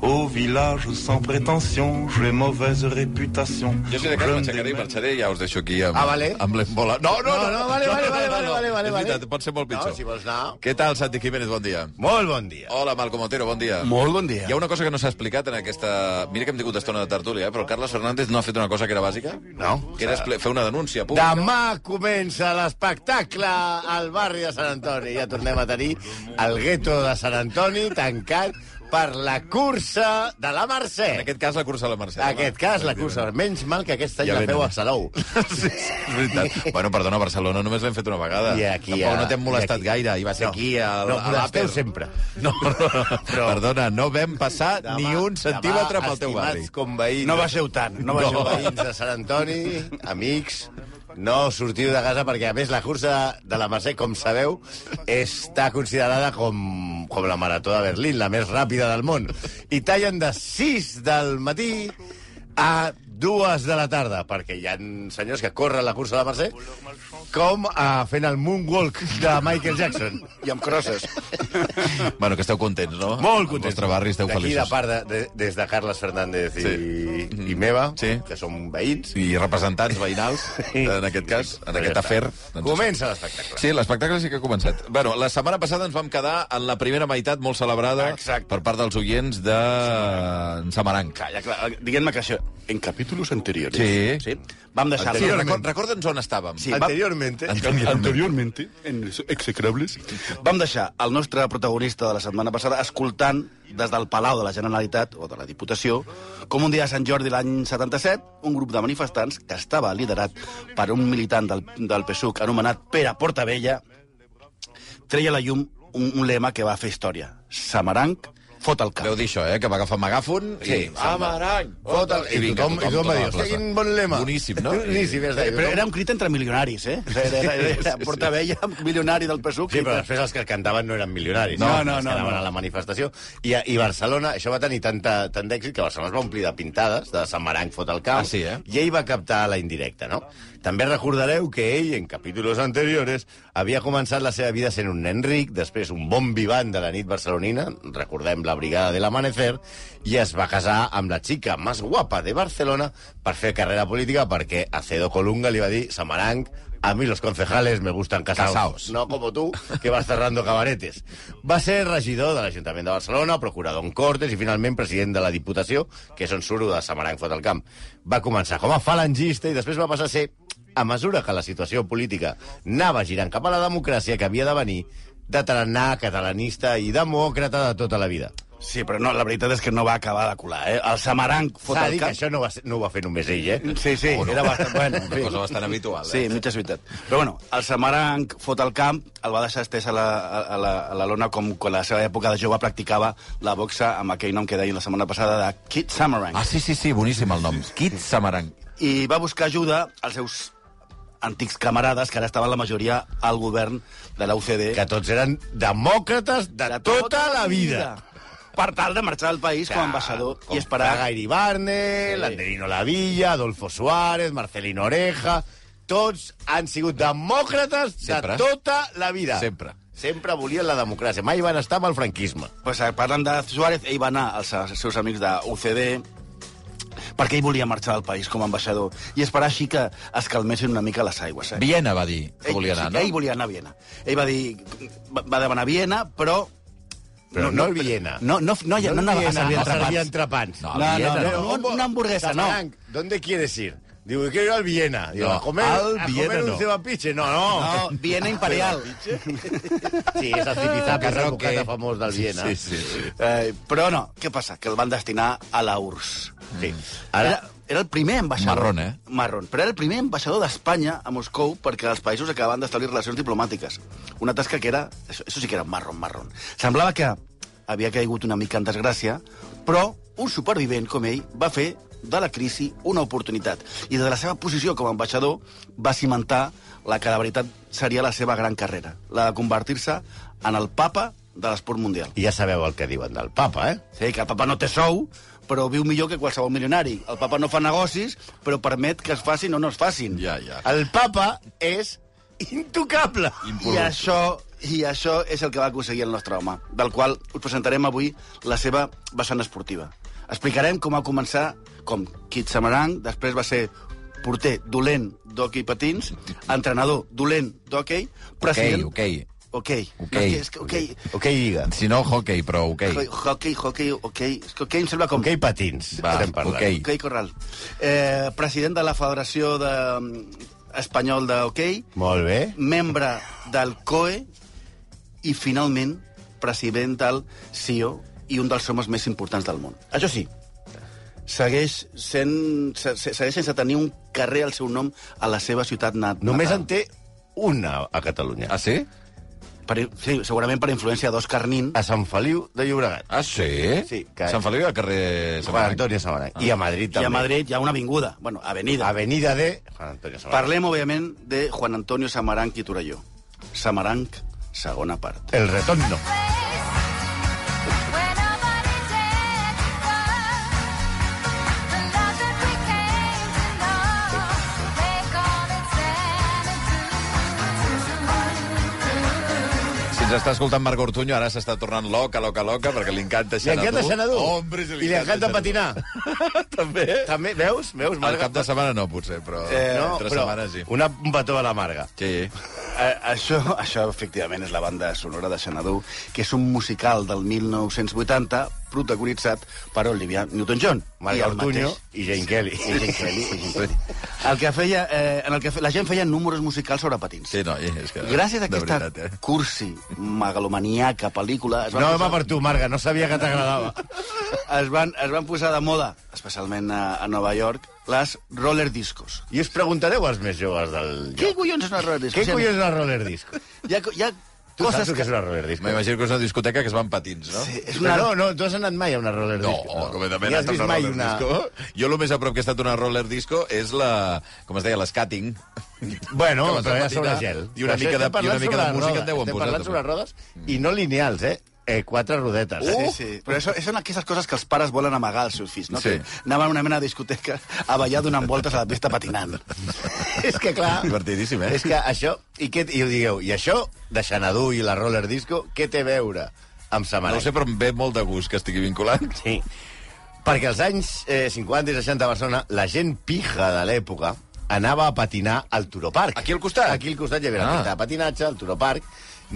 Au village sans prétention, j'ai mauvaise réputation. Jo, si de cas, m'aixecaré i marxaré i ja us deixo aquí amb, Ah, vale. amb l'embola. No, no, no. No, no, vale, vale, vale, vale, vale, vale. És veritat, pot ser molt No, pitjor. si vols anar. Què tal, Santi Jiménez? Bon dia. Molt bon dia. Hola, Malcom Otero, Oh, bon dia. Molt bon dia. Hi ha una cosa que no s'ha explicat en aquesta... Mira que hem tingut estona de tertúlia, eh? però el Carles Fernández no ha fet una cosa que era bàsica? No. Que era expli- fer una denúncia pública. Demà comença l'espectacle al barri de Sant Antoni. Ja tornem a tenir el gueto de Sant Antoni tancat per la cursa de la Mercè. En aquest cas, la cursa a la Mercè. En aquest cas, la cursa. Menys mal que aquest any Ja ja la venen. feu a Salou. Sí, és veritat. bueno, perdona, a Barcelona només l'hem fet una vegada. I aquí, Tampoc a- no t'hem molestat i aquí. gaire, i va ser No. aquí, a, No, a molesteu l'Àper. sempre. No, no, no. Però... Perdona, no vam passar Demà- ni un centímetre demà, pel teu barri. Estimats conveïns, No baixeu tant, no no. baixeu tant. veïns de Sant Antoni, amics, no sortiu de casa perquè, a més, la cursa de la Mercè, com sabeu, està considerada com, com la Marató de Berlín, la més ràpida del món. I tallen de 6 del matí a dues de la tarda, perquè hi ha senyors que corren la cursa de la Mercè com a fent el moonwalk de Michael Jackson. I amb crosses. Bueno, que esteu contents, no? Molt Al contents. vostre barri esteu D'aquí de feliços. part, de, de, des de Carles Fernández i, Sí. i meva, Sí. que som veïns, I representants veïnals, eh, en aquest cas, en aquest afer. doncs comença l'espectacle. Sí, l'espectacle sí que ha començat. Bueno, la setmana passada ens vam quedar en la primera meitat molt celebrada Exacte. per part dels oients de en Samaranc. Calla, clar, diguem-me que això... En capítulos anteriores... Sí. sí vam deixar... Sí, record, recorda'ns on estàvem. Sí, va- Anteriormente, Anteriorment. Anteriormente, en execrables. Vam deixar el nostre protagonista de la setmana passada escoltant des del Palau de la Generalitat, o de la Diputació, com un dia de Sant Jordi l'any 77, un grup de manifestants que estava liderat per un militant del, del PSUC anomenat Pere Portavella, treia a la llum un, un lema que va fer història. Samaranc, fot el cap. Vau dir això, eh? Que va agafar megàfon i... Sí. Amarany! Fot el... I vinga, tothom, i tothom a va dir, la hòstia, plaça. quin bon lema. Boníssim, no? Boníssim, ja està. Eh, Però era un crit entre milionaris, eh? Era, era, era, era portavella, milionari del PSUC. Sí, però després els que el cantaven no eren milionaris. No, eh? no, Els no, que anaven no. a la manifestació. I, a- I Barcelona, això va tenir tanta, tant d'èxit que Barcelona es va omplir de pintades, de Sant Maranc fot el camp, Ah, sí, eh? i ell va captar la indirecta, no? També recordareu que ell, en capítols anteriors, havia començat la seva vida sent un nen ric, després un bon vivant de la nit barcelonina, recordem la brigada de l'amanecer, i es va casar amb la xica més guapa de Barcelona per fer carrera política perquè Acedo Colunga li va dir Samaranc, a mi los concejales me gustan casados. Casaos. No como tú, que vas cerrando cabaretes. Va ser regidor de l'Ajuntament de Barcelona, procurador en Cortes i finalment president de la Diputació, que és on suro de Samaranc fot el camp. Va començar com a falangista i després va passar a ser, a mesura que la situació política anava girant cap a la democràcia que havia de venir, de tarannà catalanista i demòcrata de tota la vida. Sí, però no, la veritat és que no va acabar de colar, eh? El Samaranc fot S'ha de el dir que cap... això no, va ser, no ho va fer només ell, eh? Sí, sí, O no. era bastant... Bueno, Una cosa bastant habitual, eh? Sí, mitja veritat. Però bueno, el Samaranc fot el camp, el va deixar estès a la, a, a la, a la lona com quan a la seva època de jove practicava la boxa amb aquell nom que deien la setmana passada de Kid Samaranc. Ah, sí, sí, sí, boníssim el nom. Kit Samaranc. i va buscar ajuda als seus antics camarades, que ara estaven la majoria al govern de la UCD. Que tots eren demòcrates de, de tota la vida. Per tal de marxar del país com a ambaixador Com i esperar... Fraga Iribarne, Sí. Landerino Lavilla, Adolfo Suárez, Marcelino Oreja... Tots han sigut demòcrates Sempre. de tota la vida. Sempre. Sempre volien la democràcia. Mai van estar amb el franquisme. Pues, eh, parlant de Suárez, ell va anar als als seus amics de UCD perquè ell volia marxar del país com a ambaixador i esperar així que es calmessin una mica les aigües. Eh? Viena va dir que Ell- volia anar, sí, no? Ell volia anar a Viena. Ell va dir... Va, va demanar Viena, però... Però no, no, el Viena. No, no, no, no, no, no, Viena, a servir no servia entrepans. entrepans. No, No, no, Viena, no, no, una hamburguesa, no. Samaranc, ¿dónde quieres ir? Digo, quiero ir al Viena. Digo, No, a comer, al a Viena comer un no. cevapiche. No, no. No, Viena imperial. Sí, és el zipizap, és el Carroque. bocata famós del Viena. Sí, sí, sí. Eh, però no, què passa? Que el van destinar a la URSS. sí. Ara... Ara, Era, era el primer ambaixador... Marrón, eh? Marrón. Però era el primer ambaixador d'Espanya a Moscou perquè els països acabaven d'establir relacions diplomàtiques. Una tasca que era... Això, això sí que era marrón, marrón. Semblava que havia caigut una mica en desgràcia, però un supervivent com ell va fer de la crisi una oportunitat. I des de la seva posició com a ambaixador va cimentar la que de veritat seria la seva gran carrera, la de convertir-se en el papa de l'esport mundial. ja sabeu el que diuen del papa, eh? Sí, que el papa no té sou, però viu millor que qualsevol milionari. El papa no fa negocis, però permet que es facin o no es facin. Ja, ja. El papa és intocable. I això I això és el que va aconseguir el nostre home, del qual us presentarem avui la seva vessant esportiva. Explicarem com va començar com Kit Samarang, després va ser porter dolent d'hoquei patins, entrenador dolent d'hoquei, president... Ok, ok. Ok, Ok. No, és que, és que, okay. Ok, lliga. Si no, hockey, però ok. Hockey, hockey, ok. És que ok em sembla com... Ok, patins. Va, estem parlant. ok. Hockey Corral. Eh, president de la Federació de... mm, Espanyol de Hockey, Molt bé. membre del COE i, finalment, president del CIO i un dels homes més importants del món. Això sí, segueix, sent, se- se- segueix sense tenir un carrer al seu nom a la seva ciutat nat Només en té natal. una a Catalunya. Ah, sí? Per, sí, segurament per influència d'Òscar Nin. A Sant Feliu de Llobregat. Ah, sí? Sí, que- Sant Feliu al carrer... Sant Juan Antonio Sabanay. I a Madrid, I també. a Madrid hi ha una avinguda, bueno, avenida. Avenida de Juan Antonio Sabanay. Parlem, òbviament, de Juan Antonio Samaranc i Torelló. Samaranc, segona part. El retorno. When our bodies hit the the love that we came to know will take on its sanity. Si ens està escoltant Marc Ortuño, ara s'està tornant loca, loca, loca, perquè li encanta Li Xanadu. encanta Xanadu. Hombre, si li, I li encanta Xanadu. patinar. També. També, veus? Veus, Al cap Marga? Eh, de setmana no, potser, però eh, Eh, no, No, entre però setmanes sí. una, un petó a la Marga. Sí. Eh, això, això, efectivament, és la banda sonora de Xanadu, que és un musical del 1980 protagonitzat per Olivia Newton-John. I Marga el Ortuño i mateix- Jane Kelly. I Jane Kelly, i Jane Kelly. El que feia, eh, en el que fe, la gent feia números musicals sobre patins. Sí, no, és que... Gràcies a de aquesta veritat, eh? cursi, megalomaníaca pel·lícula... es van No, posar- va per tu, Marga, no sabia que t'agradava. es van, es van posar de moda, especialment a, a Nova York, les roller discos. I us preguntareu als més joves del Què lloc. collons és una roller disco? Què collons és una roller disc? Hi ha, co- hi ha Tu saps coses el que és una roller disc? M'imagino que és una discoteca que es va amb patins, no? Sí, és Una... una... No, no, tu has anat mai a una roller No, disc. completament. Ni has vist mai una... Disco. Jo el més a prop que he estat una roller disco és la... com es deia, l'escàting. Bueno, Que vas però a era sobre patinar gel. I una Però mica això de, i estem una parlant mica sobre de la música roda. et deuen Estem posar. parlant sobre rodes i no lineals, eh? eh quatre rodetes. Sí, Eh? sí, però això, això són aquestes coses que els pares volen amagar als seus fills, no? Oh! Sí. Que anaven a una mena de discoteca a ballar donant voltes a la pista patinant. Ah. és que, clar... Divertidíssim, eh? És que això... I, què, I ho digueu, i això de Xanadu i la roller disco, què té a veure amb No Samarany? ho sé, però em ve molt de gust que estigui vinculat. Sí. Perquè als anys eh, 50 i 60 a Barcelona, la gent pija de l'època anava a patinar al Turoparc. Aquí al costat? Aquí al costat hi havia Ah. la pista de patinatge, al Turoparc.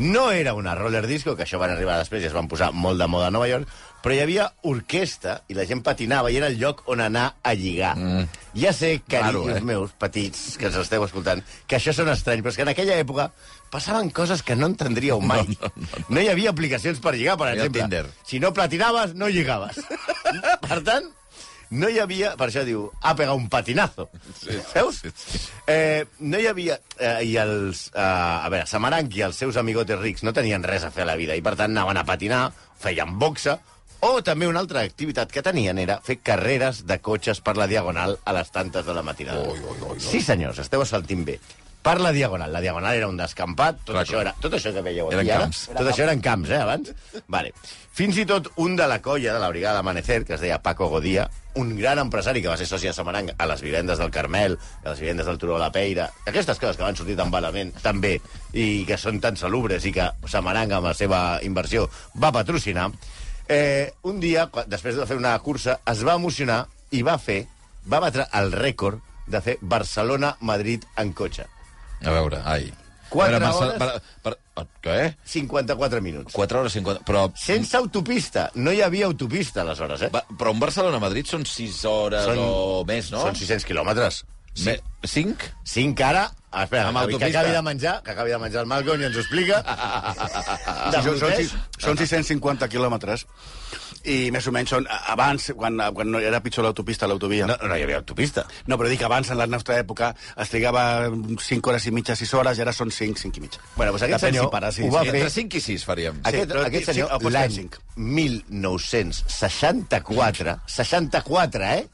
No era una roller disco, que això van arribar després i es van posar molt de moda a Nova York, però hi havia orquestra i la gent patinava i era el lloc on anar a lligar. Mm. Ja sé, carinyos Raro, eh? meus, petits, que ens esteu escoltant, que això són estrany, però és que en aquella època passaven coses que no entendríeu mai. No, no, no, no. no hi havia aplicacions per lligar, per Ni el exemple. Tinder. Si no platinaves, no lligaves. per tant, no hi havia... Per això diu, ha pegat un patinazo. Sí, Veus? sí, sí. Eh, no hi havia... Eh, I els... Eh, a veure, Samaranc i els seus amigotes rics no tenien res a fer a la vida i, per tant, anaven a patinar, feien boxa, o també una altra activitat que tenien era fer carreres de cotxes per la Diagonal a les tantes de la matinada. Oi, oi, oi, oi. Sí, senyors, esteu assaltint bé. Per la Diagonal. La Diagonal era un descampat, tot, Clar, això, clar. era, tot això que veieu Eren aquí ara, camps. tot això eren camps, eh, abans? Vale. Fins i tot un de la colla de la brigada Amanecer, que es deia Paco Godía, un gran empresari que va ser soci de Samarang a les vivendes del Carmel, a les vivendes del Turó de la Peira, aquestes coses que van sortir tan malament, també, i que són tan salubres i que Samarang, amb la seva inversió, va patrocinar, eh, un dia, quan- després de fer una cursa, es va emocionar i va fer, va batre el rècord de fer Barcelona-Madrid en cotxe. A veure, ai. Quatre a veure, Marcel- hores. Per, per, què? 54 minuts. 4 hores 50... Però, Sense autopista. No hi havia autopista, aleshores, eh? va, però un Barcelona-Madrid són 6 hores són, o més, no? Són 600 quilòmetres. Me, 5? 5 ara... Ah, espera, Amb que acabi- que autopista. acabi de menjar, que acabi de menjar el Malcom i ens ho explica. Ah, de són, són, sis- brutès. són 650 quilòmetres i més o menys són a- abans, quan, quan no era pitjor l'autopista, l'autovia. No, no hi havia autopista. No, però dic que abans, en la nostra època, es trigava 5 hores i mitja, 6 hores, i ara són 5, 5 i mitja. Bueno, doncs aquest Depèn senyor si pares, si- ho va si- Entre fer- 5 i 6 faríem. Sí, Aquest, però aquest sí, senyor, el pots fer l'any cinc. 1964, 64, eh?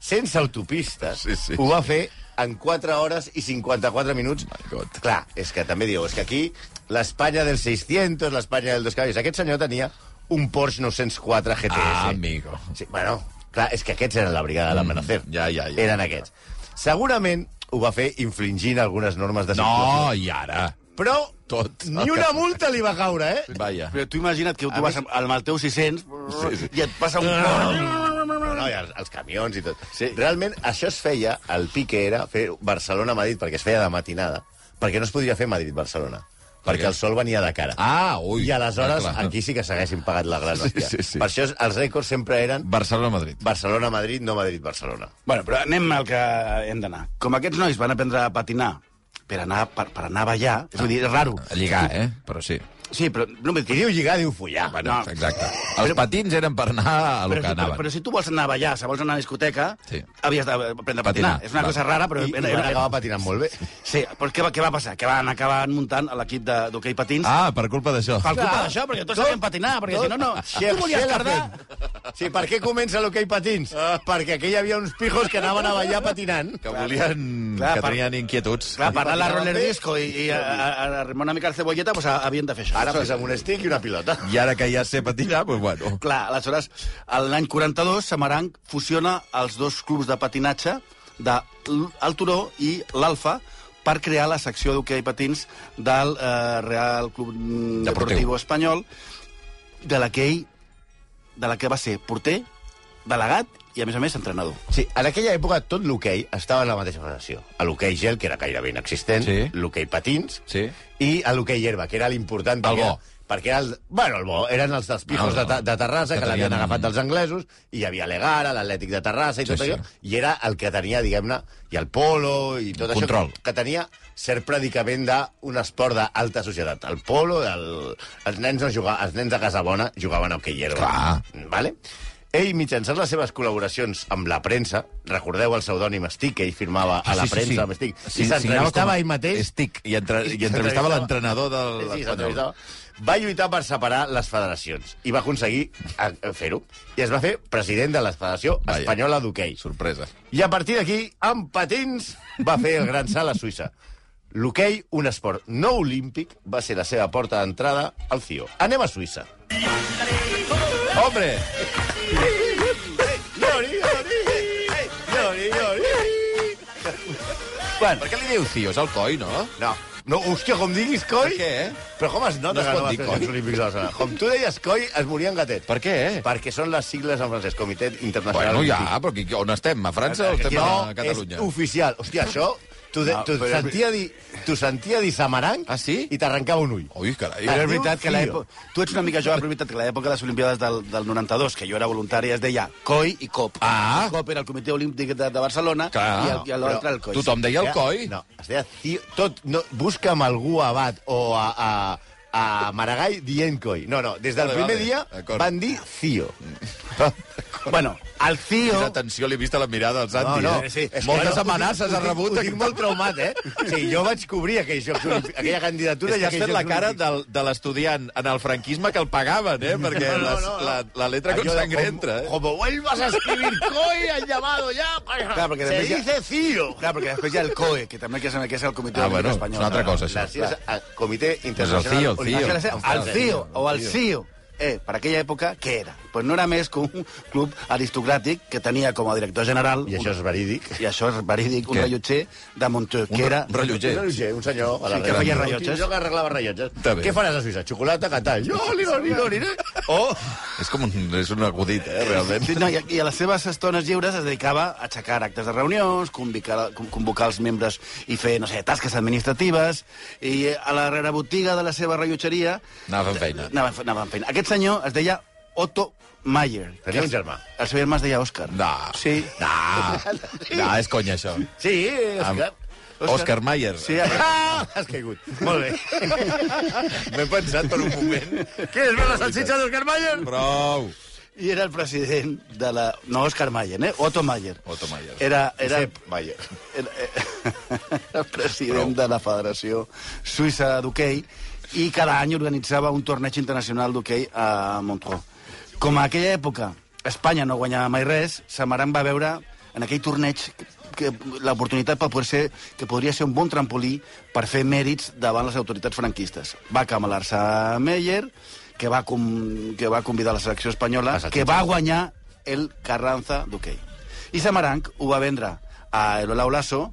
Sense autopistes. Sí, sí. Ho va fer en 4 hores i 54 minuts. My God. Clar, és que també diu, és que aquí l'Espanya del 600, l'Espanya del dos cavalls... Aquest senyor tenia un Porsche 904 GTS. Ah, amigo. Sí, bueno, clar, és que aquests eren la brigada de l'Amanecer. Mm, ja, ja, ja. Eren aquests. Segurament ho va fer infringint algunes normes de No, i ara? però Tot. ni una multa li va caure, eh? Vaja. Però tu imagina't que A tu vas més- amb, amb el teu 600 Sí, Ah. sí. i et passa un... No, no, i els, els camions i tot. Sí. Realment, això es feia, el pique era fer Barcelona-Madrid, perquè es feia de matinada, perquè no es podia fer Madrid-Barcelona, perquè què? el sol venia de cara. Ah, ui. I aleshores, Ah, clar. aquí sí que s'haguessin pagat la gran Sí, hòstia. sí, sí. Per això els rècords sempre eren Barcelona-Madrid. Barcelona-Madrid, no Madrid-Barcelona. Bueno, però anem al que hem d'anar. Com aquests nois van aprendre a patinar per anar, per, per anar a ballar, és a dir, és raro. Ah. A lligar, eh? Però sí. Sí, però no m'he Qui diu lligar, diu follar. Ah, Bueno, No. exacte. Els patins eren per anar a lo Però, que si- però, anaven. però, si tu vols anar a ballar, si vols anar a la discoteca, Sí. sí. havies d'aprendre a patinar. Patinar, És una clar. cosa rara, però... I, i van acabar patinant molt bé. Sí, però què va, què va passar? Que van acabar muntant a l'equip de- d'hoquei patins ah, Ah, per culpa d'això. per culpa d'això, perquè tots sabien patinar, perquè si no, no... Tu volies tardar... Sí, per què comença l'hoquei patins? Perquè aquí hi havia uns pijos que anaven a ballar patinant. Ah. Que volien... Clar, que per- tenien inquietuds. Clar, per anar a la patinaven roller bé. disco i, i a, a, a arrimar una mica la cebolleta, doncs, havien de fer això. Ara fes amb un estic i una pilota. I ara que ja sé patinar, doncs bueno. Clar, aleshores, a l'any 42, Samaranc fusiona els dos clubs de patinatge de l- el Turó i l'Alfa per crear la secció d'hoquei patins del eh, Real Club Deportiu, Deportiu. Deportivo Espanyol, de la que ell de la que va ser porter, delegat i, a més a més, entrenador. Sí, en aquella època tot l'hoquei estava en la mateixa federació. A l'hoquei gel, que era gairebé inexistent, Sí. l'hoquei patins, Sí. i a l'hoquei herba, que era l'important. El perquè- bo. Perquè era el, bueno, el bo, eren els dels pijos Ah, de, Ta- de Terrassa, que que, l'havien tenien- agafat dels anglesos, i hi havia l'Egara, l'Atlètic de Terrassa i Sí, tot sí. allò, i era el que tenia, diguem-ne, i el polo i tot Control. això, que, que tenia cert predicament d'un esport d'alta societat. El polo, el, els, nens no jugaven, els nens de Casabona jugaven a hoquei herba. Clar. Vale? Ell, mitjançant les seves col·laboracions amb la premsa, recordeu el pseudònim Stick, que ell firmava a la premsa amb Stick, i s'entrevistava ell mateix... Estic, i, entre, i entrevistava s'entrevistava- l'entrenador del... Sí, sí, s'entrevistava. Va lluitar per separar les federacions i va aconseguir eh, fer-ho. I es va fer president de la Federació Vaja. Espanyola d'Hockey. Sorpresa. I a partir d'aquí, amb patins, va fer el gran salt a Suïssa. L'hoquei, un esport no olímpic, va ser la seva porta d'entrada al CIO. Anem a Suïssa. Hombre! Llori, llori, eh, llori, llori. Per què li diu Cios al coi, no? No, no, hòstia, com diguis coi... Per què? Però com es No nota es que pot no vas dir fer coi. els Jocs Olímpics de Barcelona? Com tu deies coi, es morien gatets. Per què? Perquè són les sigles en francès, Comitè Internacional Bueno, Olímpic. ja, però qui, on estem? A França o estem no, a Catalunya? és oficial. Hòstia, això... T'ho de- No, t'ho però- sentia, dir, t'ho sentia dir Samaranc Ah, sí? i t'arrencava un ull. Ui, carai. Es Però és diu veritat que Fio. l'època... Tu ets una mica jove, però és veritat que l'època de les Olimpiades del, del 92, que jo era voluntari, es deia COI i COP. Ah. COP era el Comitè Olímpic de, de Barcelona Clar. i el- i l'altre el COI. Tothom deia el coi. No, es deia Cio... Tot, no, busca'm algú a Bat o a, a, a Maragall dient coi. No, no, des del Vale, primer vale, dia d'acord. van dir Cio. Bueno, el Quina CIO... atenció li he vist a la mirada al Santi, eh? sí. És que Moltes no, amenaces ho ha tinc- rebut. Ho tinc molt traumat, eh? Sí, jo vaig cobrir aquells Jocs Olímpics, aquella candidatura... És i que has aquells fet la Jocs cara Olímpics. del, de l'estudiant en el franquisme que el pagaven, eh? Perquè No, no, les- no, no. la- la letra con Allò de sangre com- entra, eh? Como vuelvas a escribir coi, han llamado ya. Claro, porque se después ya- dice CIO. Clar, perquè després hi ha el COE, que també que és, que és el Comitè Ah, Olímpic bueno, Espanyol. és una altra cosa, això. Gràcies al Comitè ah, Internacional. Pues el CIO, el CIO. Això era ser El Ostres. CIO o el CIO. Eh, per aquella època, què era? Pues no era més que un club aristocràtic que tenia com a director general... I això és verídic. i això és verídic, un Què? rellotger de Montreux, que era... Un rellotger. Un rellotger, un senyor. A la Sí, que Real. feia Un rellotges. senyor que arreglava rellotges. Està bé. Què faràs a Suïssa? Xocolata, catall. Jo, li, li, li, li. Oh! És com un, és un acudit, eh, realment. Sí, no, i, a, I a les seves estones lliures es dedicava a aixecar actes de reunions, convocar, con- convocar els membres i fer, no sé, tasques administratives, i a la rerebotiga de la seva rellotgeria... Anava fent feina. Anava, anava fent feina. Aquest senyor es deia Otto Mayer. Tenia un germà. El seu germà es deia Òscar. No. Sí. No. No, és conya, això. Sí, és Amb- que... Òscar Mayer. Sí, a- Ah, has caigut. Molt bé. M'he pensat per un moment. Quieres ver la salchicha d'Òscar Mayer? Prou. I era el president de la... No, Òscar Mayer, eh? Otto Mayer. Otto Mayer. Era, era, Josep Mayer. Era, eh, era el president de la Federació Suïssa d'Hockey i cada any organitzava un torneig internacional d'hoquei a Montreux. Com a aquella època Espanya no guanyava mai res, Samaran va veure en aquell torneig que, que l'oportunitat per poder ser, que podria ser un bon trampolí per fer mèrits davant les autoritats franquistes. Va camalar-se a Meyer, que va, com, que va convidar la selecció espanyola, Passa, que va guanyar el Carranza d'hoquei. I Samaranc ho va vendre a Elola Olaso,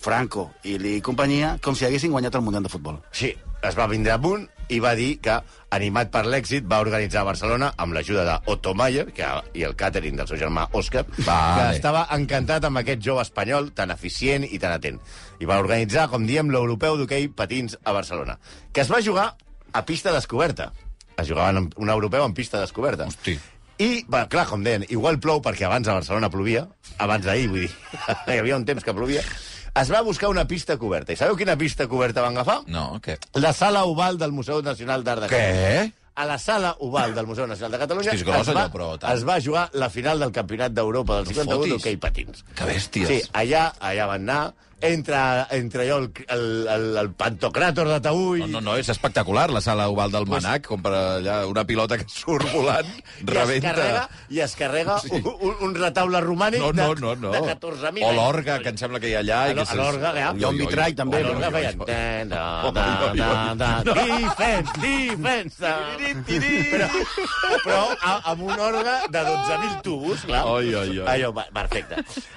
Franco i li companyia com si haguessin guanyat el Mundial de Futbol. Sí, es va vindre amunt i va dir que, animat per l'èxit, va organitzar a Barcelona amb l'ajuda d'Otto Mayer que, i el càtering del seu germà Òscar, que Vale. estava encantat amb aquest jove espanyol tan eficient i tan atent. I va organitzar, com diem, l'europeu d'hoquei patins a Barcelona, que es va jugar a pista descoberta. Es jugaven amb- un europeu en pista descoberta. Hosti. I, va, clar, com deien, igual plou perquè abans a Barcelona plovia, abans d'ahir, vull dir, hi havia un temps que plovia, es va buscar una pista coberta. I sabeu quina pista coberta van agafar? No, què? la sala oval del Museu Nacional d'Art de Catalunya. Què? A la sala oval del Museu Nacional de Catalunya Hosti, és gros, es, va, allò, però tant. es va jugar la final del Campionat d'Europa del No 51 fotis. d'hoquei patins. Que bèsties. Sí, allà, allà van anar, entre, entre allò el, el, el, el pantocràtor de Taüll... No, no, no, és espectacular, la sala oval del Manac, com per allà una pilota que surt volant, I es, carrega, rebenta... I es carrega Sí. sí. un, un retaule romànic No, no, no, no. de, de 14.000 O l'orga, que em sembla que hi ha allà. i A l'or- que a l'orga, ja. Ui, Hi ha un ui, ui. vitrall, Ui, també, I ui, l'orga ui, feia... ui. tan, Ui, tan, ui, ui, tan, tan, Defensa, defensa. Però, però a- amb un orga de 12.000 tubos, clar. Oi, oi, oi. Allò, va- perfecte.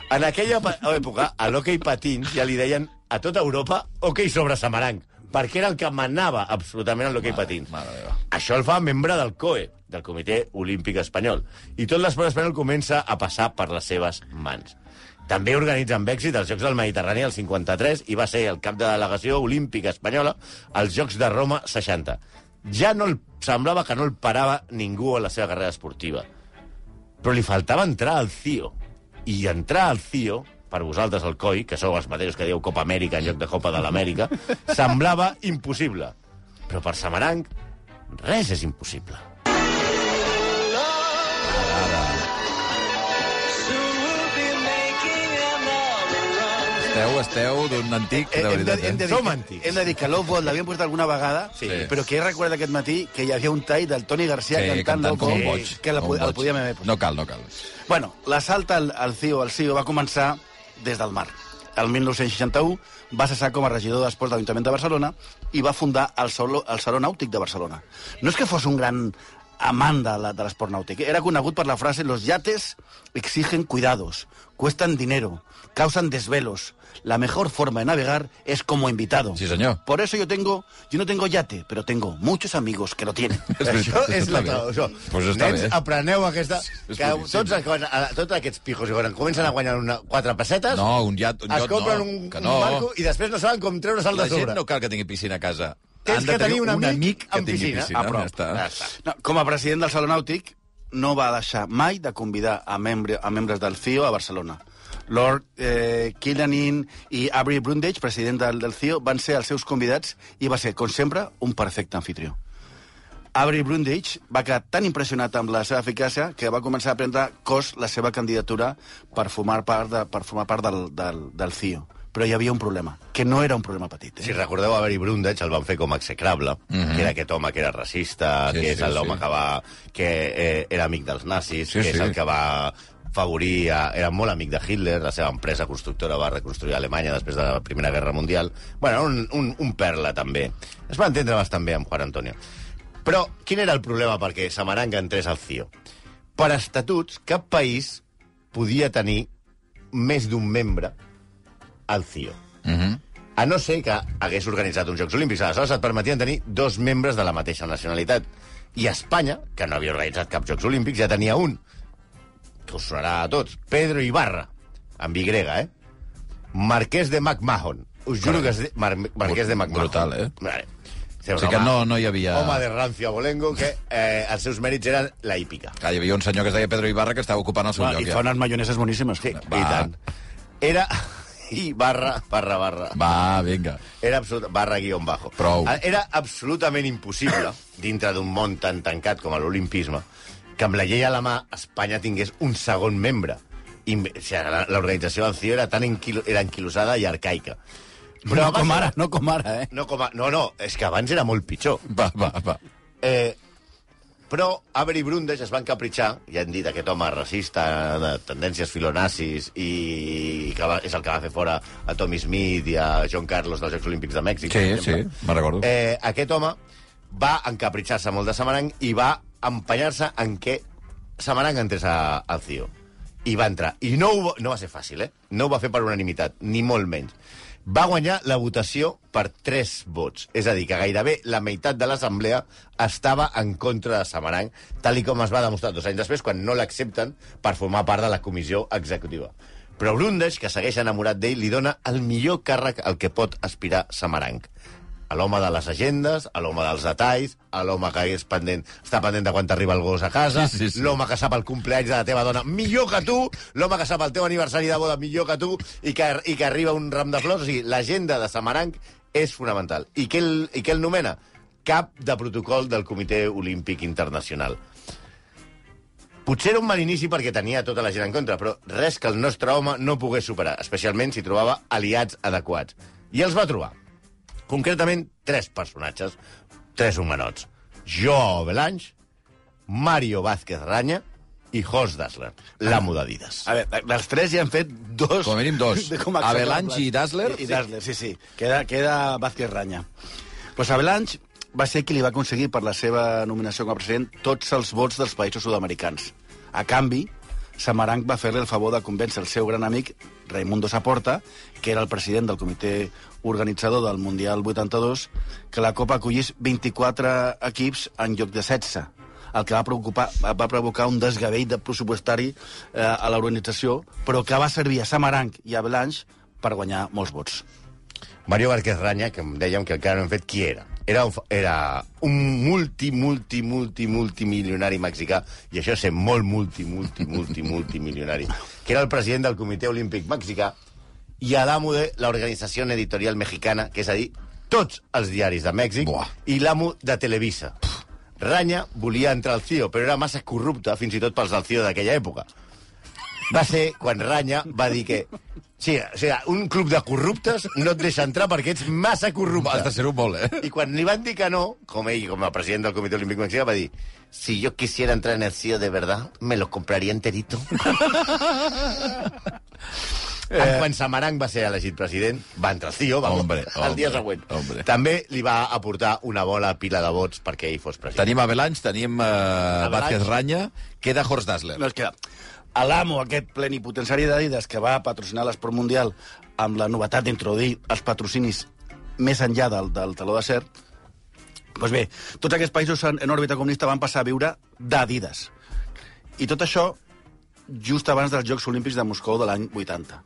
En aquella pa- època, a l'hoquei patins ja li deien a tota Europa hoquei sobre Samaranc, perquè era el que manava absolutament en l'hoquei Mare, patins. mare meva. Això el fa membre del COE, del Comitè Olímpic Espanyol. I tot l'esport espanyol comença a passar per les seves mans. També organitza amb èxit els Jocs del Mediterrani el 53 i va ser el cap de delegació olímpica espanyola als Jocs de Roma 60. Ja no el, semblava que no el parava ningú a la seva carrera esportiva. Però li faltava entrar al CIO. I entrar al CIO, per vosaltres el COI, que sou els mateixos que dieu Copa Amèrica en lloc de Copa de l'Amèrica, semblava impossible. Però per Samaranc, res és impossible. Esteu, esteu d'un antic, de veritat, eh? Som antics. Hem de dir que Lobo l'havien portat alguna vegada, Sí. sí. però que he recordat aquest matí que hi havia un tall del Toni Garcia Sí, cantant, cantant Lobo, com un boig. que la, com un po- la boig. podíem haver posat. No cal, no cal. Bueno, l'assalt al, al CIO, al CIO va començar des del mar. El 1961 va cessar com a regidor d'Esports de l'Ajuntament de Barcelona i va fundar el, Saló, el Saló Nàutic de Barcelona. No és que fos un gran amant de la- de l'esport nàutic. Era conegut per la frase «Los yates exigen cuidados, cuestan dinero, causan desvelos. La mejor forma de navegar es como invitado». Sí, senyor. Por eso yo tengo, yo no tengo yate, pero tengo muchos amigos que lo tienen. Això és la traducció. traducció. Pues està Nens, bé. apreneu aquesta... és Que boníssim. tots, els que van- a- tots aquests pijos que van- comencen a guanyar una, quatre pessetes, No, un iat, un es iot, compren no, un, que un no. barco i després no saben com treure's el La de gent sobre. no cal que tingui piscina a casa. Tens Han de que tenir un amic que amb tingui piscina. piscina. A prop. ja està. Ja està. No, com a president del Saló Nàutic, no va deixar mai de convidar a, membre, a membres del CIO a Barcelona. Lord eh, Killianin i Avery Brundage, president del, del CIO, van ser els seus convidats i va ser, com sempre, un perfecte anfitrió. Avery Brundage va quedar tan impressionat amb la seva eficàcia que va començar a prendre cos la seva candidatura per formar part, de, per formar part del, del, del CIO. Però hi havia un problema, que no era un problema petit. Eh? Si recordeu, Avery Brundage el van fer com a execrable, que era aquest home que era racista, Mhm. Sí, que és sí, l'home sí. que va... que eh, era amic dels nazis, Sí, que és sí. el que va favorir... A, era molt amic de Hitler, la seva empresa constructora va reconstruir Alemanya després de la Primera Guerra Mundial. Bueno, un, un, un perla, també. Es va entendre bastant bé amb Juan Antonio. Però quin era el problema perquè Samaranca entrés al CIO? Per estatuts, cap país podia tenir més d'un membre al CIO. Mhm. A no ser que hagués organitzat uns Jocs Olímpics. Aleshores et permetien tenir dos membres de la mateixa nacionalitat. I Espanya, que no havia organitzat cap Jocs Olímpics, ja tenia un. Que us sonarà a tots. Pedro Ibarra, amb Y, eh? Marquès de McMahon. Us juro que es de... Mar Marquès de McMahon. Brutal, eh? Vale. O sigui que no, no hi havia... Home de rancio abolengo, que eh, els seus mèrits eren la hípica. Clar, hi havia un senyor que es deia Pedro Ibarra que estava ocupant el seu Va, lloc. I fa unes mayoneses boníssimes. Sí, Va. i tant. Era... I barra, barra, barra. Va, vinga. Era absolut... barra guion bajo. Ah, Prou. Era absolutament impossible, dintre d'un món tan tancat com l'olimpisme, que amb la llei a la mà Espanya tingués un segon membre. I, o sigui, la- l'organització del CIO era tan enquilo... era anquilosada i arcaica. Però no abans com era- ara, no com ara, eh? No, com a... no, no, és que abans era molt pitjor. Va, va, va. Eh, però Avery Brundage es va encapritxar, ja han dit aquest home racista, de tendències filonazis, i que va, és el que va fer fora a Tommy Smith i a John Carlos dels Jocs Olímpics de Sí, Mèxic. per exemple. sí, me'n recordo. Eh, aquest home va encapritxar-se molt de Samaranc i va empenyar-se en què Samaranc entrés a, al CIO. I va entrar. I no, ho, va- no va ser fàcil, eh? No ho va fer per unanimitat, ni molt menys. va guanyar la votació per 3 vots. És a dir, que gairebé la meitat de l'assemblea estava en contra de Samaranch, tal i com es va demostrar dos anys després, quan no l'accepten per formar part de la comissió executiva. Però Brundage, que segueix enamorat d'ell, li dona el millor càrrec al que pot aspirar Samaranch. A l'home de les agendes, a l'home dels detalls, a l'home que és pendent, està pendent de quan t'arriba el gos a casa, Sí, sí, sí. l'home que sap el compleany de la teva dona millor que tu, l'home que sap el teu aniversari de boda millor que tu, i que, i que arriba un ram de flors. O sigui, l'agenda de Samaranc és fonamental. I què, el, I què el nomena? Cap de protocol del Comitè Olímpic Internacional. Potser era un mal inici perquè tenia tota la gent en contra, però res que el nostre home no pogués superar, especialment si trobava aliats adequats. I els va trobar. Concretament, tres personatges, tres humanots. Joao Belange, Mario Vázquez Raña i Jos Dassler, l'amo d'Adidas. A veure, dels tres ja han fet dos... Com a mínim dos. com a exemples. Avalanche i Dazzler? I Dazzler, sí, sí. Queda, queda Vázquez Ranya. Pues Avalanche va ser qui li va aconseguir per la seva nominació com a president tots els vots dels països sud-americans. A canvi, Samaranch va fer-li el favor de convèncer el seu gran amic, Raimundo Saporta, que era el president del comitè organitzador del Mundial 82, que la Copa acollís 24 equips en lloc de 16 el que va, preocupar, va provocar un desgavell de pressupostari eh, a l'organització, però que va servir a Samaranc i a Blanche per guanyar molts vots. Mario Vázquez Raña, que em dèiem que encara no hem fet qui era. Era un, fa- era un multi, multi, multi, multimilionari mexicà, i això és ser molt multi, multi, multi, multimilionari, que era el president del Comitè Olímpic Mexicà i a l'amo de l'Organització Editorial Mexicana, que és a dir, tots els diaris de Mèxic, Buah. i l'amo de Televisa. Ranya volia entrar al CIO, però era massa corrupte, fins i tot pels del CIO d'aquella època va ser quan Ranya va dir que... Sí, o sigui, un club de corruptes no et deixa entrar perquè ets Has massa de corrupte. ser un molt, eh? I quan li van dir que no, com ell, com a president del Comitè Olímpic Mexicà, va dir si yo quisiera entrar en el CIO de verdad, me lo compraría enterito. Eh... Quan Samaranc va ser elegit president, va entrar el CIO, va Hombre, el dia hombre, següent. hombre. També li va aportar una bona pila de vots perquè ell fos president. Tenim Avalanche, tenim eh, Vázquez Ranya, queda Horst Dassler. No, és que a l'amo, aquest plenipotenciari d'Adidas, que va patrocinar l'esport mundial amb la novetat d'introduir els patrocinis més enllà del, del taló de cert, doncs bé, tots aquests països en, en òrbita comunista van passar a viure d'Adidas. I tot això just abans dels Jocs Olímpics de Moscou de l'any 80,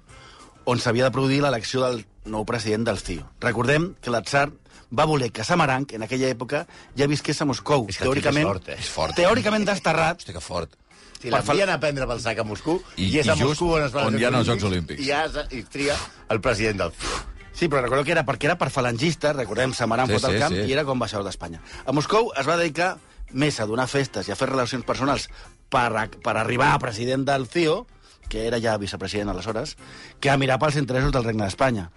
on s'havia de produir l'elecció del nou president del CIO. Recordem que l'atzar va voler que Samaranc, en aquella època, ja visqués a Moscou. És que el tio és teòricament, fort, eh? És fort. Teòricament desterrat, Hòstia, que fort. Sí, l'envien a prendre pel sac a Moscú i, I- és i a just Moscú on es fan on hi ha els Jocs Olímpics. I, ja es, i tria el president del CIO. Sí, però recordeu que era perquè era per falangistes, recordem, Samaran Sí, sí, fot sí, al camp sí. i era com baixador d'Espanya. A Moscou es va dedicar més a donar festes i a fer relacions personals per, a, per arribar a president del CIO, que era ja vicepresident aleshores, que a mirar pels interessos del Regne d'Espanya.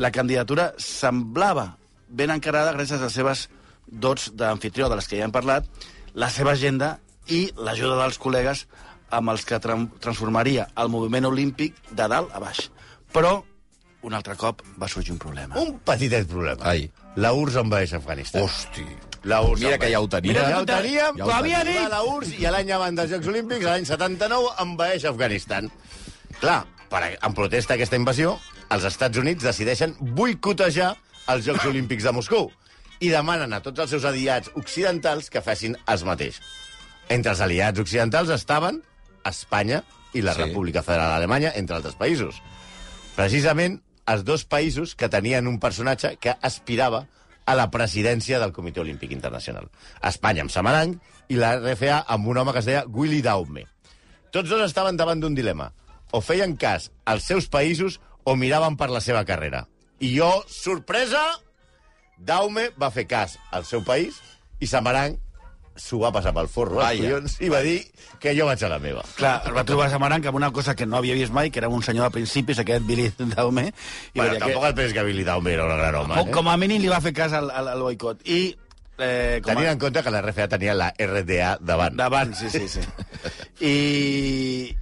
La candidatura semblava ben encarada gràcies a les seves dots d'anfitrió, de les que ja hem parlat, la seva agenda i l'ajuda dels col·legues amb els que tran- transformaria el moviment olímpic de dalt a baix. Però un altre cop va sorgir un problema. Un petitet problema. Ai. La URSS envaeix Afganistan. Hosti. La URSS Mira que ja ho tenia. Mira, ja ho Ja ho teníem, tenia. ja ho havia dit. La URSS i l'any abans dels Jocs Olímpics, l'any 79, envaeix Afganistan. Clar, per, a- en protesta a aquesta invasió, els Estats Units decideixen boicotejar els Jocs Olímpics de Moscou i demanen a tots els seus aliats occidentals que facin els mateix. Entre els aliats occidentals estaven Espanya i la Sí. sí. República Federal d'Alemanya, entre altres països. Precisament els dos països que tenien un personatge que aspirava a la presidència del Comitè Olímpic Internacional. Espanya amb Samaranch i la RFA amb un home que es deia Willy Daume. Tots dos estaven davant d'un dilema. O feien cas als seus països o miraven per la seva carrera. I jo, sorpresa, Daume va fer cas al seu país i Samaranch s'ho va passar pel forro, els Vaja. collons, i va dir que jo vaig a la meva. Clar, es va trobar Samaranca amb una cosa que no havia vist mai, que era un senyor de principis, aquest Billy Daume, Bueno, i va dir tampoc que, el pes que Billy Daume era un gran home, eh? com, com a mínim li va fer cas al, al, al boicot. I, eh, com Tenint a, en compte que la RFA tenia la RDA davant. davant, sí, sí, sí. I,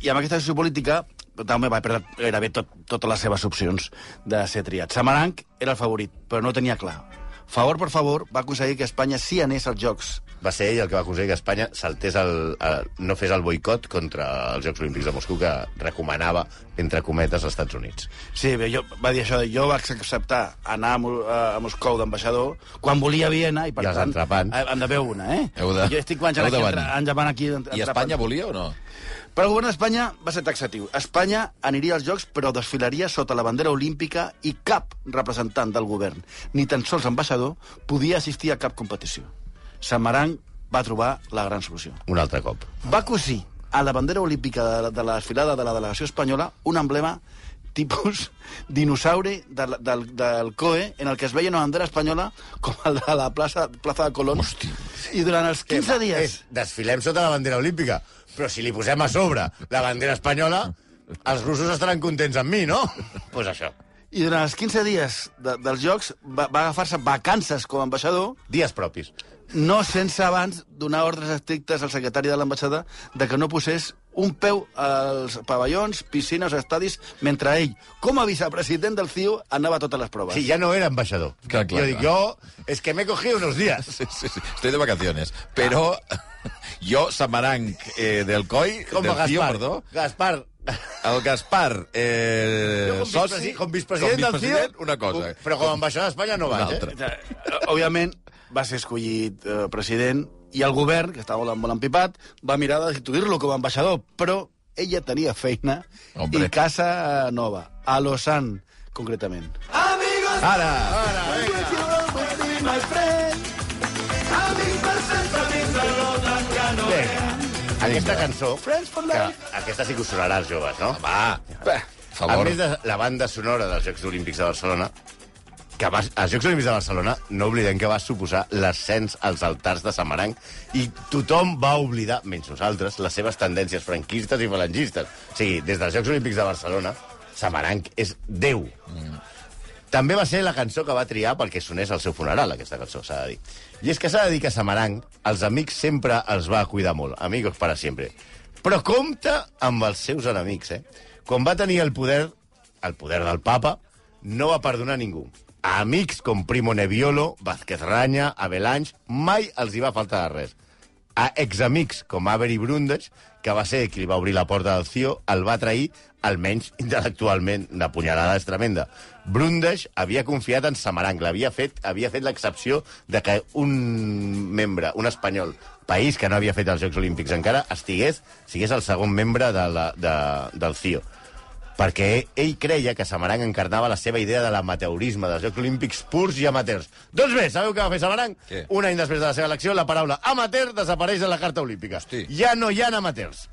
I amb aquesta decisió política, Daume va perdre gairebé tot, totes les seves opcions de ser triat. Samaranc era el favorit, però no ho tenia clar. Favor per favor va aconseguir que Espanya sí anés als Jocs. Va ser ell el que va aconseguir que Espanya saltés el, el, no fes el boicot contra els Jocs Olímpics de Moscou que recomanava, entre cometes, als Estats Units. Sí, bé, jo, va dir això, de, jo vaig acceptar anar a, Mo- a Moscou d'ambaixador quan volia Viena i per I els tant entrepans. eh, hem de veure una, eh? Heu de- Jo estic menjant heu de aquí, venir. entre- ens van aquí I Espanya volia o no? Però el govern d'Espanya va ser taxatiu. Espanya aniria als Jocs, però desfilaria sota la bandera olímpica i cap representant del govern, ni tan sols ambaixador, podia assistir a cap competició. Samarang va trobar la gran solució. Un altre cop. Va cosir a la bandera olímpica de la, de la desfilada de la delegació espanyola un emblema tipus dinosaure de, la- del, del COE, en el que es veia una bandera espanyola com el de la plaça, plaça de Colón. Hosti. I durant els 15 dies... És, desfilem sota la bandera olímpica, però si li posem a sobre la bandera espanyola, els russos estaran contents amb mi, no? Doncs pues això. I durant els 15 dies de, dels Jocs va, va agafar-se vacances com a ambaixador, Dies propis. no sense abans donar ordres estrictes al secretari de l'ambaixada de que no posés un peu als pavellons, piscines, estadis, mentre ell, com a vicepresident del CIO, anava a totes les proves. Sí, ja no era ambaixador. Clar, clar, jo dic, jo... És que m'he cogido unos días. Sí, sí, sí. Estoy de vacaciones. Però jo, Samaranc eh, del COI, Ah. Com a del CIO, Gaspar. perdó, Gaspar. el Gaspar, eh, Jo com, soci... vicepresi- com vicepresident com eh. del CIO... vicepresident, una cosa. eh. Però com a ambaixador d'Espanya no una vaig, altra. eh? Òbviament, va ser escollit eh, president i el govern, que estava molt, molt empipat, va mirar de destituir-lo com a ambaixador, però ella tenia feina Hombre. i casa nova, a Lausanne, concretament. Ara! Ah. Bé, aquesta cançó... Que, aquesta sí que us sonarà als joves, no? Va, per A favor. més de la banda sonora dels Jocs Olímpics de Barcelona, que va, als Jocs Olímpics de Barcelona no oblidem que va suposar l'ascens als altars de Samaranc i tothom va oblidar, menys nosaltres, les seves tendències franquistes i falangistes. O sigui, des dels Jocs Olímpics de Barcelona, Samaranc és Déu. També va ser la cançó que va triar perquè sonés al seu funeral, aquesta cançó, s'ha de dir. I és que s'ha de dir que Samaranc, els amics sempre els va cuidar molt. Amigos para sempre. Però compta amb els seus enemics, eh? Quan va tenir el poder, el poder del papa, no va perdonar ningú. A amics com Primo Neviolo, Vázquez Ranya, Avelanys, mai els hi va faltar de res. A examics com Avery Brundage, que va ser qui li va obrir la porta del CIO, el va trair, almenys intel·lectualment. Una punyalada és tremenda. Brundage havia confiat en Samaranc, l'havia fet, havia fet l'excepció de que un membre, un espanyol, país que no havia fet els Jocs Olímpics encara, estigués, sigués el segon membre de la, de, del CIO perquè ell creia que Samaranc encarnava la seva idea de l'amateurisme dels Jocs Olímpics purs i amateurs. Doncs bé, sabeu què va fer Samaranc? Què? Un any després de la seva elecció, la paraula amateur desapareix de la Carta Olímpica. Hosti. Ja no hi ha amateurs.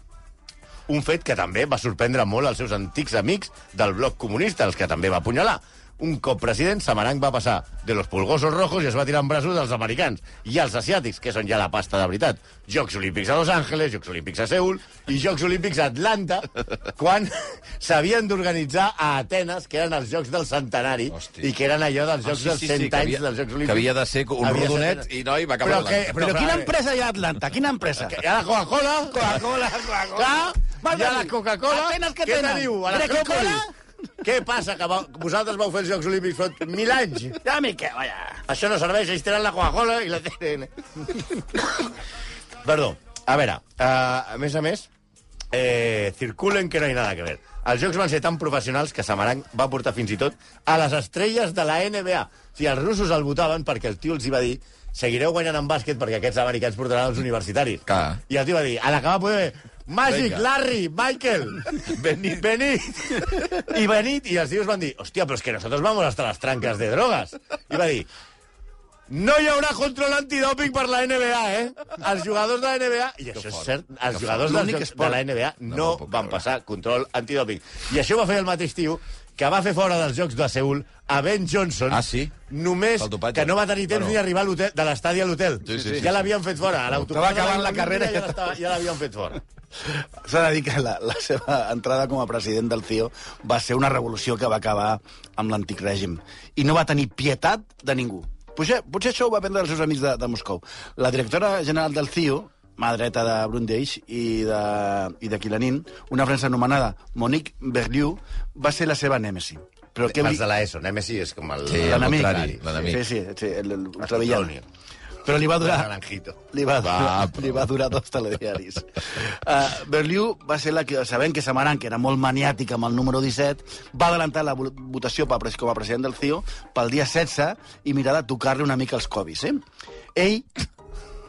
Un fet que també va sorprendre molt els seus antics amics del bloc comunista, els que també va apunyalar. Un cop president, Samaranc va passar de los pulgosos rojos i es va tirar en braços dels americans i els asiàtics, que són ja la pasta de veritat. Jocs Olímpics a Los Angeles, Jocs Olímpics a Seul i Jocs Olímpics a Atlanta, quan s'havien d'organitzar a Atenes, que eren els Jocs del Centenari, Hosti. Ah, i que eren allò dels Jocs dels 100 que anys havia- dels Jocs Olímpics. Que havia de ser un Havia de ser rodonet Atenes. i noi va acabar Però que- l'altre. però- clar, hi ha a Atlanta? Quina empresa? Ah, Hi ha la Coca-Cola. Coca-Cola, Coca-Cola. Hi ha la Coca-Cola. Atenes que Què tenen? teniu? A la Greco Coca-Cola? Cola? Què passa? Que va... vosaltres vau fer els Jocs Olímpics fa mil anys. Ja, Miquel, vaja. Això no serveix, ells tenen la Coca-Cola i la tenen. Perdó. A veure, eh, a més a més, eh, circulen que no hi ha nada que ver. Els jocs van ser tan professionals que Samaranc va portar fins i tot a les estrelles de la NBA. O sigui, els russos el votaven perquè el tio els hi va dir seguireu guanyant en bàsquet perquè aquests americans portaran els universitaris. Clar. I el tio va dir, a la que va poder... Magic, Vinga. Larry, Michael, Benit. Benit. I Benit, i els tios van dir, hòstia, però és que nosotros vamos hasta las trancas de drogas. I va dir, no hi haurà control antidòping per la NBA, eh? Els jugadors de la NBA... I això és fort, cert, els que jugadors fort. dels L'únic jocs de esport- la NBA no, No me'l puc van creure. passar control antidòping. I això ho va fer el mateix tio que va fer fora dels Jocs de Seul a Ben Johnson, Ah, sí? només Pel dopatge. que no va tenir temps Bueno. bueno. ni arribar a l'hotel- de l'estadi a l'hotel. Sí, sí, sí, ja sí. l'havien fet fora. A l'autopista Estava acabant de la carrera i Ja l'estava- ja l'havien fet fora. S'ha de dir que la, la seva entrada com a president del CIO va ser una revolució que va acabar amb l'antic règim. I no va tenir pietat de ningú. Potser, potser això ho va prendre els seus amics de, de Moscou. La directora general del CIO, mà dreta de Brundage i de, i de Kilanin, una frança anomenada Monique Berliu, va ser la seva nèmesi. Però què Els de l'ESO, Nemesis és com el... Sí, el l'enemic. contrari. L'enemic. Sí, sí, sí el, el Antonio. ultravillano. Però li va durar... Naranjito. Li va, Va, durar, però- li va durar dos telediaris. Uh, Berliu va ser la que, sabent que Samaran, que era molt maniàtica amb el número 17, va adelantar la vo- votació per, pres- com a president del CIO pel dia 16 i mirar de tocar-li una mica els covis. Eh? Ell,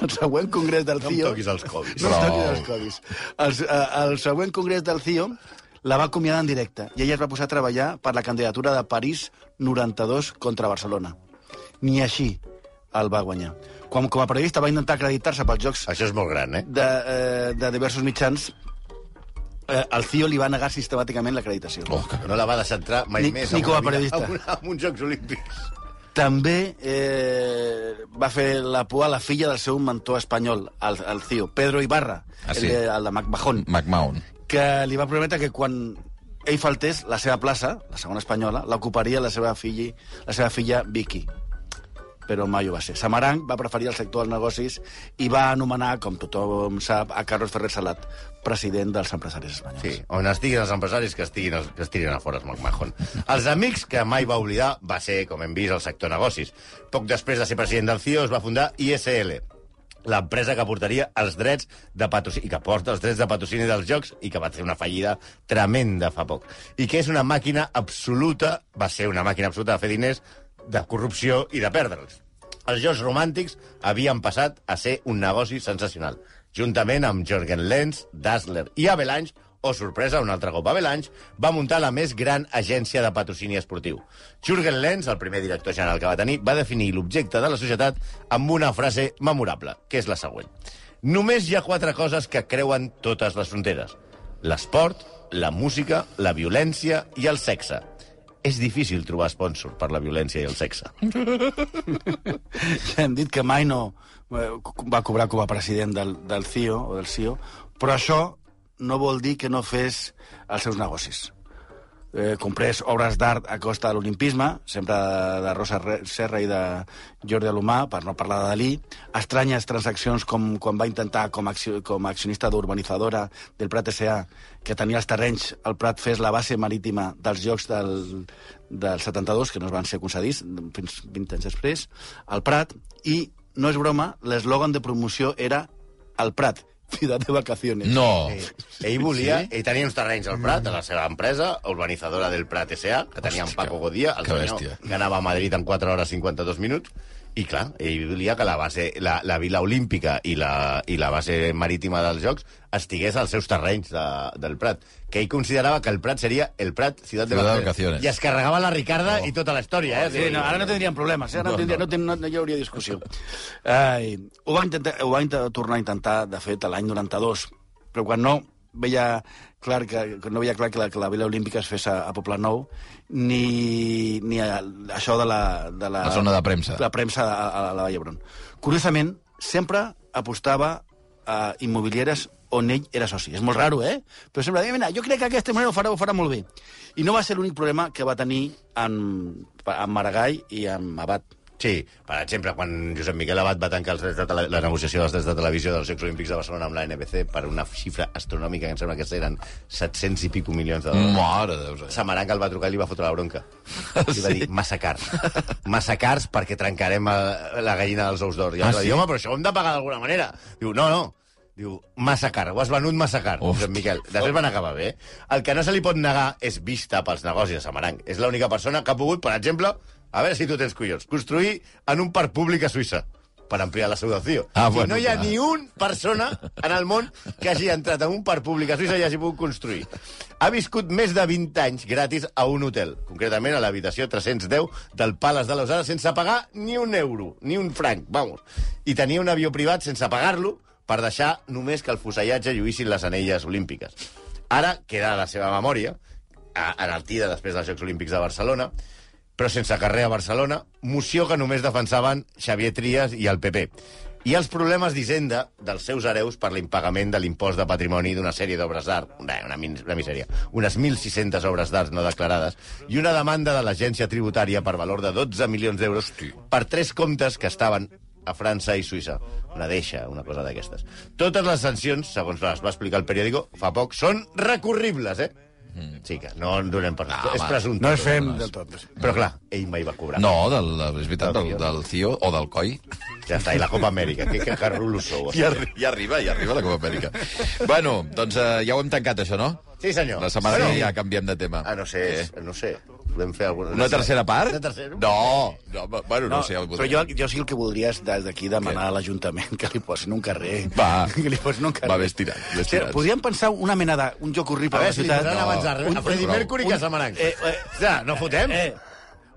el següent congrés del No em CIO... toquis els Covid. No em toquis els Covis. El, el següent congrés del CIO la va acomiadar en directe i ella es va posar a treballar per la candidatura de París 92 contra Barcelona. Ni així el va guanyar. Quan, com a periodista va intentar acreditar-se pels Jocs Això és molt gran, eh? de, eh, de diversos mitjans, eh, el CIO li va negar sistemàticament l'acreditació. Oh, que... No la va deixar entrar mai Ni- més ni a com a una vida- periodista. a, una, a uns Jocs Olímpics. També eh, va fer la por a la filla del seu mentor espanyol, el, el CIO, Pedro Ibarra, Ah, sí. el, de- el de McMahon. McMahon. que li va prometre que quan ell faltés, la seva plaça, la segona espanyola, l'ocuparia la seva filla, la seva filla Vicky. Però mai ho va ser. Samaranc va preferir el sector dels negocis i va anomenar, com tothom sap, a Carlos Ferrer Salat, president dels empresaris espanyols. Sí, on estiguin els empresaris que estiguin els, que estiguin a fora els McMahon. Els amics que mai va oblidar va ser, com hem vist, el sector negocis. Poc després de ser president del CIO es va fundar ISL, l'empresa que portaria els drets de patrocini, que porta els drets de patrocini dels jocs i que va fer una fallida tremenda fa poc. I que és una màquina absoluta, va ser una màquina absoluta de fer diners, de corrupció i de perdre'ls. Els jocs romàntics havien passat a ser un negoci sensacional, juntament amb Jorgen Lenz, Dassler i Avalanche, o sorpresa, un altre cop Avalanche, va muntar la més gran agència de patrocini esportiu. Jorgen Lenz, el primer director general que va tenir, va definir l'objecte de la societat amb una frase memorable, que és la següent. Només hi ha quatre coses que creuen totes les fronteres. L'esport, la música, la violència i el sexe. És difícil trobar sponsor per la violència i el sexe. Hem dit que mai no eh, va cobrar com a president del, del CIO o del CIO, però això no vol dir que no fes els seus negocis. Eh, comprés obres d'art a costa de l'olimpisme, sempre de Rosa Re- Serra i de Jordi Alomà, per no parlar de Dalí, estranyes transaccions com quan va intentar com, a accio, com a accionista d'urbanitzadora del Prat S.A., que tenia els terrenys, el Prat fes la base marítima dels Jocs del, del 72, que no es van ser concedits fins 20 anys després, al Prat, i, no és broma, l'eslògan de promoció era el Prat, ciutat de vacaciones. No. Ell volia... Sí? Ell tenia uns terrenys al Prat, a la seva empresa, urbanitzadora del Prat S.A., que tenia en Hòstia, Paco Godía, el que senyor bèstia. que anava a Madrid en 4 hores 52 minuts, i clar, ell volia que la base, la, la vila olímpica i la, i la base marítima dels Jocs estigués als seus terrenys de, del Prat, que ell considerava que el Prat seria el Prat Ciutat de Ciudad de Vacaciones. Vacaciones. I es carregava la Ricarda oh. i tota la història, eh? Sí, no, ara no tindríem problemes, eh? ara no, tindria, no, ten- no, no hi hauria discussió. Ai, ho va, intentar, ho va inter- tornar a intentar, de fet, a l'any 92, però quan no veia clar que, que no veia clar que la, que la Vila Olímpica es fes a, a Poble Nou, ni, ni a, això de la, de la... La zona de premsa. La premsa a, a, a la Vall d'Hebron. Curiosament, sempre apostava a immobilieres on ell era soci. És molt raro, eh? Però sempre deia, mira, jo crec que aquesta manera ho farà, ho farà molt bé. I no va ser l'únic problema que va tenir amb, amb Maragall i amb Abad. Sí, per exemple, quan Josep Miquel Abad va tancar els drets de tele... la negociació dels drets de televisió dels Jocs Olímpics de Barcelona amb la NBC per una xifra astronòmica que em sembla que eren 700 i pico milions de dòlars. Mare de Déu. senyor. Samaranca el va trucar i li va fotre la bronca. I va dir, massa cars. Massa cars perquè trencarem eh, la gallina dels ous d'or. I el Ah, ah, va sí? dir, home, però això ho hem de pagar d'alguna manera. Diu, no, no. Diu, massa car, ho has venut massa car, Hosti. Josep Miquel. Després van acabar bé. El que no se li pot negar és vista pels negocis de Samaranc. És l'única persona que ha pogut, per exemple, a veure si tu tens collons, construir en un parc públic a Suïssa per ampliar la seu del CIO. Ah, Ah, bueno, bueno, no hi ha clar. ni un persona en el món que hagi entrat en un parc públic a Suïssa i hagi pogut construir. Ha viscut més de 20 anys gratis a un hotel, concretament a l'habitació 310 del Palace de Lausana, sense pagar ni un euro, ni un franc, vamos. I tenia un avió privat sense pagar-lo per deixar només que el fusellatge lluïssin les anelles olímpiques. Ara queda a la seva memòria, a- enaltida després dels Jocs Olímpics de Barcelona, però sense carrer a Barcelona, moció que només defensaven Xavier Trias i el PP. I els problemes d'Hisenda dels seus hereus per l'impagament de l'impost de patrimoni d'una sèrie d'obres d'art, una, una, min- una misèria, unes 1.600 obres d'art no declarades, i una demanda de l'agència tributària per valor de 12 milions d'euros per tres comptes que estaven a França i Suïssa. Una deixa, una cosa d'aquestes. Totes les sancions, segons les va explicar el periòdico, fa poc, són recorribles, eh? Sí que no en donem per res. Mm. No, és home, presumpte. No és fem però no del tot. Però clar, ell mai va cobrar. No, del, és veritat, del, del CIO o del COI. Ja està, i la Copa Amèrica, que, que carrulos sou. Ja, arri- ja arriba, ja arriba la Copa Amèrica. bueno, doncs eh, ja ho hem tancat, això, no? Sí, senyor. La setmana Bueno, que ve ja canviem de tema. Eh, Ah, no sé, és, no sé. Podem fer alguna... Una tercera part? Una tercera? No, no home, bueno, no, no sé. Ja ho però jo, jo sí el que voldria és des d'aquí demanar a l'Ajuntament que li posin un carrer. Va. Que li posin un carrer. Va, vés tirant, vés Sí, tirant. podríem pensar una mena de... un joc A horrible de veure la si li ciutat. donaran abans a, No. a Freddie Un- Mercury que a Samaranc. Eh, eh, Ja, no fotem? Eh,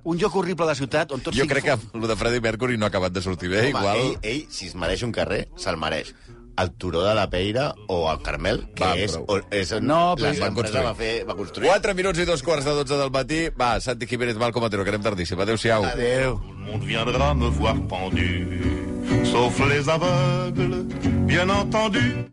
un joc horrible de la ciutat on tot jo sigui crec que el de Freddie Mercury no ha acabat de sortir bé, Home, eh, igual... ell, ell, si es mereix un carrer, se'l mereix. El Turó de la Peira o el Carmel, que Va, és, prou. on, és on No, però- la seva Van empresa construir. va, fer, va construir. 4 minuts i dos quarts de 12 del matí. Va, Santi Jiménez, Malcom Atero, que anem tardíssim. Adéu-siau. Adéu. Tout le monde viendra me voir pendu, sauf les aveugles, bien entendu.